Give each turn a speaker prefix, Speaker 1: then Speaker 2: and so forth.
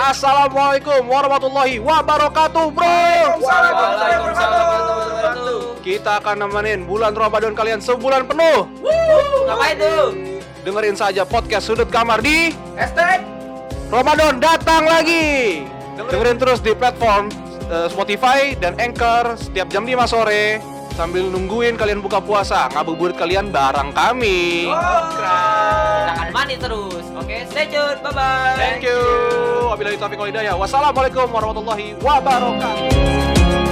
Speaker 1: Assalamualaikum warahmatullahi wabarakatuh, bro. Kita akan nemenin bulan Ramadan kalian sebulan penuh.
Speaker 2: Ngapain tuh?
Speaker 1: Dengerin saja podcast Sudut Kamar di
Speaker 2: Hashtag
Speaker 1: Ramadan datang lagi. Dengerin terus di platform eh, Spotify dan Anchor setiap jam 5 sore sambil nungguin kalian buka puasa. Ngabuburit kalian bareng
Speaker 2: Oh,
Speaker 1: kami.
Speaker 2: Kita akan mandi terus Oke stay tune Bye bye
Speaker 1: Thank you. Wabillahi taufiq wal hidayah. Wassalamualaikum warahmatullahi wabarakatuh.